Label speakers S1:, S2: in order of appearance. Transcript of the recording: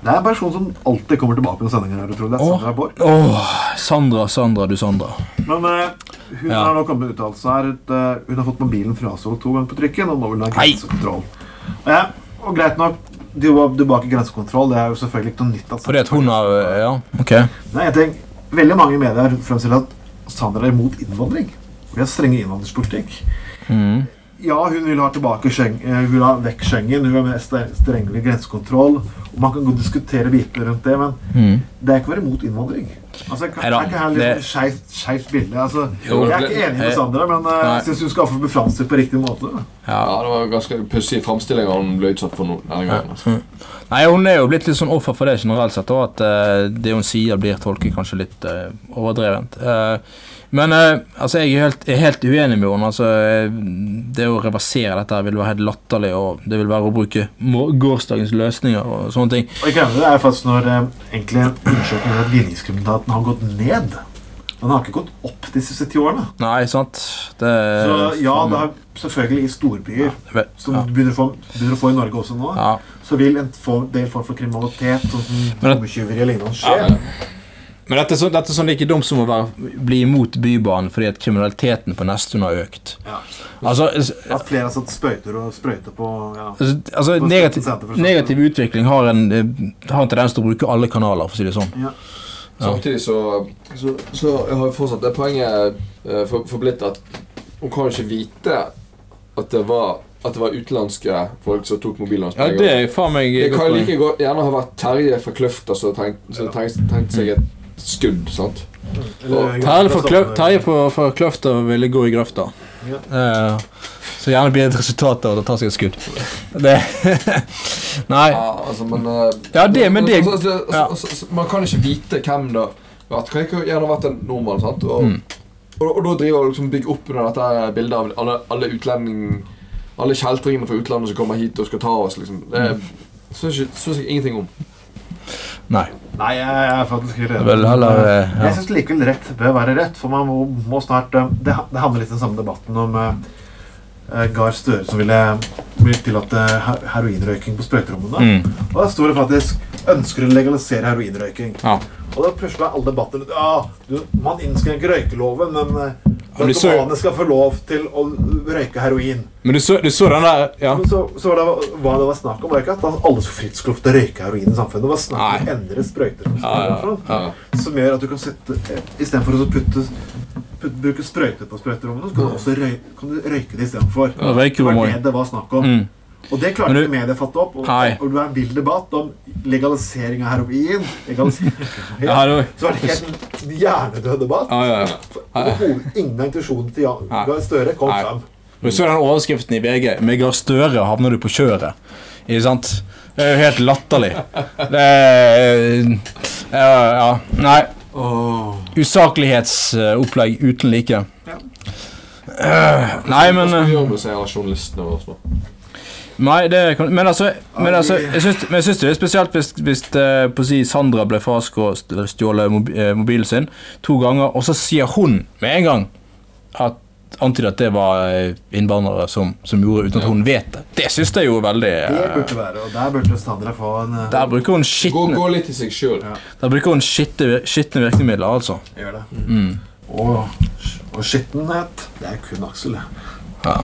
S1: Det er en person som alltid kommer tilbake på sendinger. her, utrolig. Det er Sandra Borch.
S2: Åh, Sandra, Sandra, du Sandra.
S1: Men eh, hun
S2: Ja.
S1: har nå kommet med uttalelse her at eh, hun har fått mobilen frastjålet to ganger på trykken, og nå vil hun ha
S2: Nei.
S1: grensekontroll. Ja, og greit nok, de var tilbake i grensekontroll. Det er jo selvfølgelig ikke noe nytt. at-
S2: Fordi at hun har
S1: eh,
S2: Ja, ok.
S1: Nei, jeg tenker, Veldig mange i media har fremstilt at Sandra er imot innvandring. Vi har strenge innvandringspolitikk.
S2: Mhm.
S1: Ja, hun vil ha tilbake Scheng- eh, hun vil ha vekk Schengen, hun vil ha mer ster- strengere grensekontroll. Og man kan godt diskutere bitene rundt det, men
S2: Mhm.
S1: det er ikke å være imot innvandring. Altså, jeg kan,
S2: Neida,
S1: jeg kan ha
S2: det-
S1: litt skeivt- skeivt bilde. Altså,
S2: Jo,
S1: jeg er
S2: det-
S1: ikke enig
S2: eh,
S1: med Sandra, men eh,
S2: nei.
S1: jeg syns hun skal få bli framstilt på riktig måte.
S2: Ja.
S3: Ja, det var ganske pussige framstillinger han ble utsatt for no- denne gangen. Altså.
S2: Nei, Hun er jo blitt litt sånn offer for det generelt sett, og at eh, det hun sier, blir tolket kanskje litt eh, overdrevent. Eh, men eh, altså, jeg er helt, er helt uenig med henne. Altså, eh, det å reversere dette her vil være helt latterlig, og det vil være å bruke må- gårsdagens løsninger og sånne ting.
S1: Og ikke det er faktisk når eh, egentlig undersøkelsen at vinningskriminaliteten har gått ned. Den har ikke gått opp de siste ti årene.
S2: Nei, sant? Det
S1: Så ja, det er selvfølgelig i storbyer,
S2: Vel,
S1: som
S2: Eh, ja.
S1: begynner å, få, begynner å få i Norge også nå,
S2: Ja.
S1: så vil en få- del form for kriminalitet, sånn som
S2: Men det-
S1: bombetyveri eller lignende, skje.
S2: Men dette er, så, dette er sånn like dumt som å være, bli imot Bybanen fordi at kriminaliteten på Nesttun har økt.
S1: Ja.
S2: Altså, s-
S1: At flere har satt spøyter og sprøyter på ja.
S2: Altså, altså
S1: På
S2: negativ,
S1: 70% for eksempel.
S2: negativ utvikling har en, eh, har en tendens til å bruke alle kanaler, for å si det sånn.
S3: Samtidig så, så, så har jo fortsatt det poenget eh, for- forblitt at hun kan jo ikke vite at det var, at det var utenlandske folk som tok mobilen hans. på
S2: Ja,
S3: en
S2: det
S3: gang.
S2: er faen meg
S3: det kan jo like godt gjerne ha vært Terje fra Kløfta som tenkte tenkt, tenkt seg et skudd. sant?
S1: Eller-
S2: Terje for kløf, Terje på- for Kløfta ville gå i grøfta.
S1: Ja.
S2: Eh, så gjerne blir det et resultat av å ta seg et skudd. Det Nei.
S3: Ja, altså, men eh,
S2: Ja, det, men det
S3: altså, altså,
S2: ja.
S3: altså, altså, Man kan ikke vite hvem det har vært. Kan ikke gjerne ha vært en nordmann. sant? Og,
S2: Mm.
S3: og, og da driver hun liksom bygger opp under dette her bildet av alle, alle utlending... Alle kjeltringene fra utlandet som kommer hit og skal ta oss, liksom. Det
S2: Mm.
S3: syns jeg, synes jeg ingenting om.
S2: Nei.
S1: Nei, jeg jeg er faktisk helt enig.
S2: Vel, heller eh,
S1: Jeg
S2: ja.
S1: syns likevel rett bør være rett, for man må, må snart eh, Det, det handler litt om den samme debatten om eh, eh, Gahr Støre som ville, ville tillate her- eh, heroinrøyking på sprøyterommene.
S2: Mm.
S1: Og der står det faktisk 'ønsker å legalisere heroinrøyking'.
S2: Ja.
S1: Og da plutselig er alle debatter litt Ja, du, man innskrenker røykeloven, men eh,
S2: men du så-
S1: narkomane skal få lov til å røyke heroin.
S2: Men du så, du så den der Ja.
S1: Men så, så var det hva det var snakk om, var ikke at altså, alle så fritt skulle få lov til å røyke heroin i samfunnet. Det var snakk om å endre sprøyter som,
S2: Ja, ja,
S1: sprøyterom,
S2: ja.
S1: som gjør at du kan sette eh, Istedenfor å putte, putte, bruke sprøyter på sprøyterommene, så kan du også røy, kan du røyke det istedenfor.
S2: Ja,
S1: Det var
S2: Røykerommet.
S1: det det var snakk om.
S2: Mm.
S1: Og det klarte
S2: Men du-
S1: ikke media å fatte opp. Og,
S2: Nei.
S1: og det var en vill debatt om legalisering av heroin. Legalisering av
S2: Ja,
S1: heroin.
S2: det var-
S1: Så var det helt en hjernedød debatt.
S2: ja, ja, ja.
S1: Overhodet Ingen av intensjonene til Jan
S2: Nei.
S1: Gahr Støre kom
S2: Nei.
S1: fram.
S2: Og så er den overskriften i VG 'Med Gahr Støre havner du på kjøret'. Ikke sant? Det er jo helt latterlig. Det er Ja. ja. Nei. Usaklighetsopplegg uten like. Eh, Nei, men
S3: Hva skal vi
S2: eh,
S3: gjøre med disse her journalistene våre? nå?
S2: Nei, det kan Men altså, men altså jeg syns, men jeg syns det er spesielt hvis, hvis eh, på å si Sandra ble fraskåret eller stjålet mobi- eh, mobilen sin to ganger, og så sier hun med en gang at antyder at det var eh, innvandrere som, som gjorde uten at hun vet det. Det syns jeg jo er veldig
S1: Det
S2: eh,
S1: burde være, og der burde Sandra få en eh,
S2: Der bruker hun
S3: Gå,
S2: skitne
S3: gå litt i seg sjøl.
S2: Der bruker hun skitne, skitne virkemidler, altså.
S1: Gjør det. Og, og skittenhet, det er kun Aksel. det.